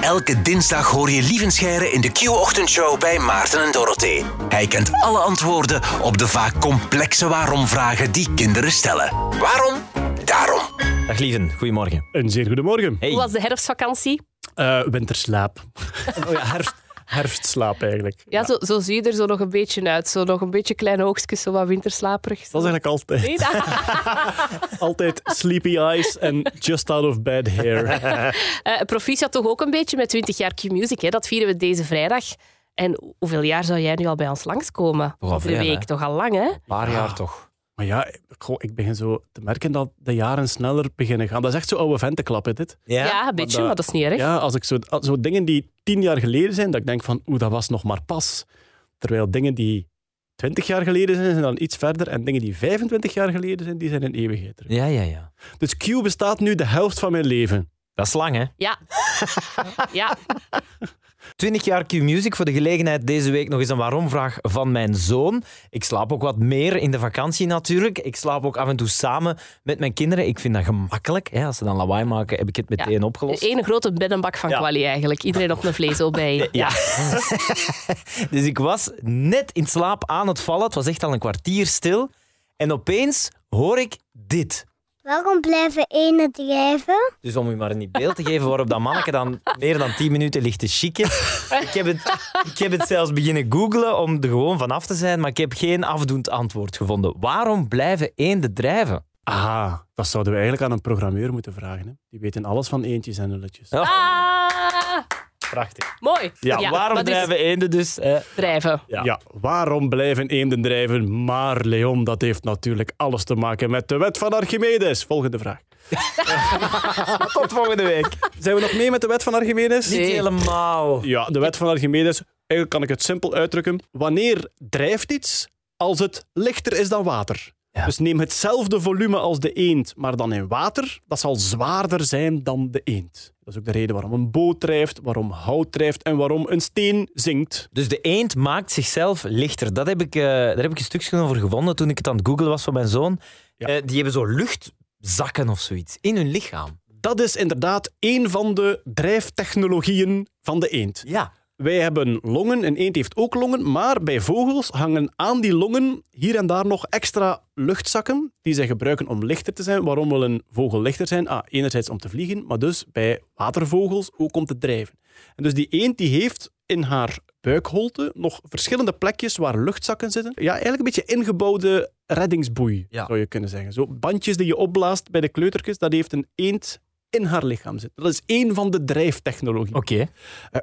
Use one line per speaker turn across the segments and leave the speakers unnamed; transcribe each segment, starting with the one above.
Elke dinsdag hoor je Lievenscheire in de Q-ochtendshow bij Maarten en Dorothee. Hij kent alle antwoorden op de vaak complexe waarom-vragen die kinderen stellen. Waarom? Daarom.
Dag lieven, goedemorgen.
Een zeer goedemorgen.
Hey.
Hoe was de herfstvakantie?
Eh, winterslaap.
Oh ja, herfst.
Herfstslaap eigenlijk.
Ja, Zo, zo zie je er zo nog een beetje uit. Zo nog een beetje kleine oogstjes, zo wat winterslaperig.
Dat is eigenlijk altijd.
Nee, dat-
Altijd sleepy eyes en just out of bed hair.
Eh, proficiat toch ook een beetje met 20 jaar Q-Music. hè? Dat vieren we deze vrijdag. En hoeveel jaar zou jij nu al bij ons langskomen?
Toch al
Over de
veel,
week,
hè?
toch al lang, hè?
paar jaar toch.
Maar ja, goh, ik begin zo te merken dat de jaren sneller beginnen gaan. Dat is echt zo oude ventenklappen dit.
Ja, een beetje,
dat-
maar dat is niet erg.
Ja, als ik zo, als- zo dingen die tien jaar geleden zijn, dat ik denk van, oeh, dat was nog maar pas. Terwijl dingen die twintig jaar geleden zijn, zijn dan iets verder. En dingen die 25 jaar geleden zijn, die zijn een eeuwigheid terug.
Ja, ja, ja.
Dus Q bestaat nu de helft van mijn leven.
Dat is lang, hè?
Ja. ja.
20 jaar Q-Music voor de gelegenheid deze week nog eens een waarom-vraag van mijn zoon. Ik slaap ook wat meer in de vakantie natuurlijk. Ik slaap ook af en toe samen met mijn kinderen. Ik vind dat gemakkelijk. Hè? Als ze dan lawaai maken, heb ik het meteen opgelost.
De ene grote beddenbak van
Ja.
Quali eigenlijk. Iedereen op een vlees bij.
Ja. dus ik was net in slaap aan het vallen. Het was echt al een kwartier stil. En opeens hoor ik dit.
Waarom blijven enen drijven?
Dus om u maar een beeld te geven waarop dat manneke dan meer dan 10 minuten ligt te chicken. Ik heb, het, ik heb het zelfs beginnen googlen om er gewoon vanaf te zijn, maar ik heb geen afdoend antwoord gevonden. Waarom blijven eenden drijven?
Ah, dat zouden we eigenlijk aan een programmeur moeten vragen. Hè? Die weten alles van eentjes en nulletjes.
Oh,
Ah,
prachtig.
mooi.
Ja, waarom
dat is
drijven eenden dus? eh?
drijven?
Ja. waarom blijven eenden drijven? Maar Leon, dat heeft natuurlijk alles te maken met de wet van Archimedes. Volgende vraag.
Tot volgende week.
Zijn we nog mee met de wet van Archimedes?
Niet helemaal.
Ja, de wet van Archimedes. Eigenlijk kan ik het simpel uitdrukken. Wanneer drijft iets? Als het lichter is dan water. Dus neem hetzelfde volume als de eend, maar dan in water. Dat zal zwaarder zijn dan de eend. Dat is ook de reden waarom een boot drijft, waarom hout drijft en waarom een steen zinkt.
Dus de eend maakt zichzelf lichter. Dat heb ik, eh, daar heb ik een stukje over gevonden toen ik het aan het googelen was van mijn zoon.
Ja.
Eh, die hebben zo luchtzakken of zoiets in hun lichaam.
Dat is inderdaad één van de drijftechnologieën van de eend.
Ja.
Wij hebben longen, een eend heeft ook longen, maar bij vogels hangen aan die longen hier en daar nog extra luchtzakken die zij gebruiken om lichter te zijn. Waarom wil een vogel lichter zijn? Ah, enerzijds om te vliegen, maar dus bij watervogels ook om te drijven. En dus die eend die heeft in haar buikholte nog verschillende plekjes waar luchtzakken zitten. Ja, eigenlijk een beetje ingebouwde reddingsboei,
Ja.
zou je kunnen zeggen. Zo bandjes die je opblaast bij de kleutertjes, dat heeft een eend in haar lichaam zitten. Dat is één van de drijftechnologieën.
Oké.
Eh,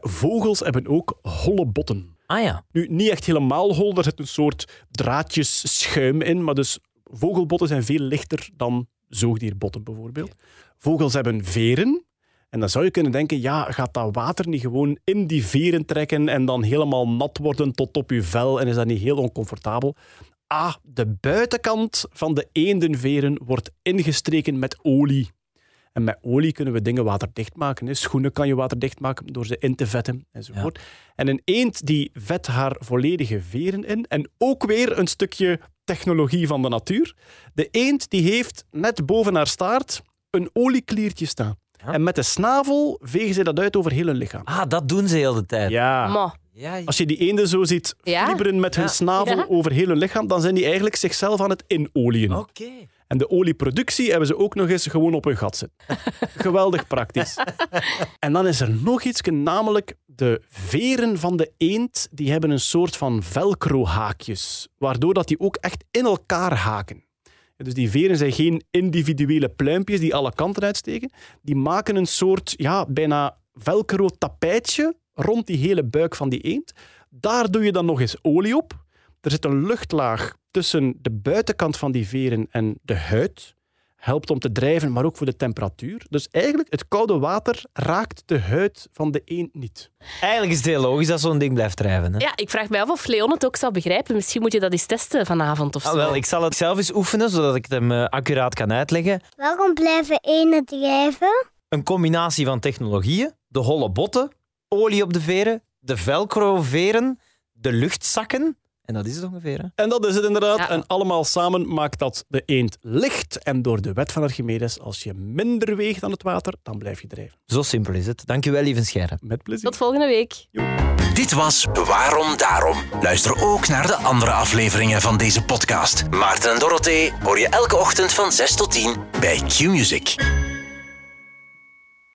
Vogels hebben ook holle botten.
Ah ja.
Nu, niet echt helemaal hol, daar zit een soort draadjes schuim in, maar dus vogelbotten zijn veel lichter dan zoogdierbotten bijvoorbeeld. Vogels hebben veren. En dan zou je kunnen denken, ja, gaat dat water niet gewoon in die veren trekken en dan helemaal nat worden tot op je vel en is dat niet heel oncomfortabel? Ah, de buitenkant van de eendenveren wordt ingestreken met olie. En met olie kunnen we dingen waterdicht maken. hè. Schoenen kan je waterdicht maken door ze in te vetten enzovoort. En een eend die vet haar volledige veren in. En ook weer een stukje technologie van de natuur. De eend die heeft net boven haar staart een oliekliertje staan. En met de snavel vegen ze dat uit over heel hun lichaam.
Ah, dat doen ze heel de tijd.
Ja.
Ma.
Ja, ja.
Als je die eenden zo ziet
Ja.
fieberen met hun
Ja.
snavel
Ja.
over heel hun lichaam, dan zijn die eigenlijk zichzelf aan het inolieën.
Oké.
En de olieproductie hebben ze ook nog eens gewoon op hun gat zitten. Geweldig praktisch. En dan is er nog iets, namelijk de veren van de eend, die hebben een soort van velcro-haakjes, waardoor dat die ook echt in elkaar haken. Dus die veren zijn geen individuele pluimpjes die alle kanten uitsteken. Die maken een soort, ja, bijna velcro-tapijtje rond die hele buik van die eend. Daar doe je dan nog eens olie op. Er zit een luchtlaag tussen de buitenkant van die veren en de huid. Helpt om te drijven, maar ook voor de temperatuur. Dus eigenlijk, het koude water raakt de huid van de eend niet.
Eigenlijk is het heel logisch dat zo'n ding blijft drijven. Hè?
Ja, ik vraag mij af of Leon het ook zou begrijpen. Misschien moet je dat eens testen vanavond of zo.
Ah, wel, ik zal het zelf eens oefenen, zodat ik het hem eh, accuraat kan uitleggen.
Waarom blijven enen drijven?
Een combinatie van technologieën, de holle botten, olie op de veren, de velcro-veren, de luchtzakken En dat is het ongeveer. Hè?
En dat is het inderdaad.
Ja.
En allemaal samen maakt dat de eend licht. En door de wet van Archimedes, als je minder weegt dan het water, dan blijf je drijven.
Zo simpel is het. Dankjewel, lieve Scherre.
Met plezier.
Tot volgende week.
Dit was Waarom Daarom. Luister ook naar de andere afleveringen van deze podcast. Maarten en Dorothee hoor je elke ochtend van 6 tot 10 bij Q-Music.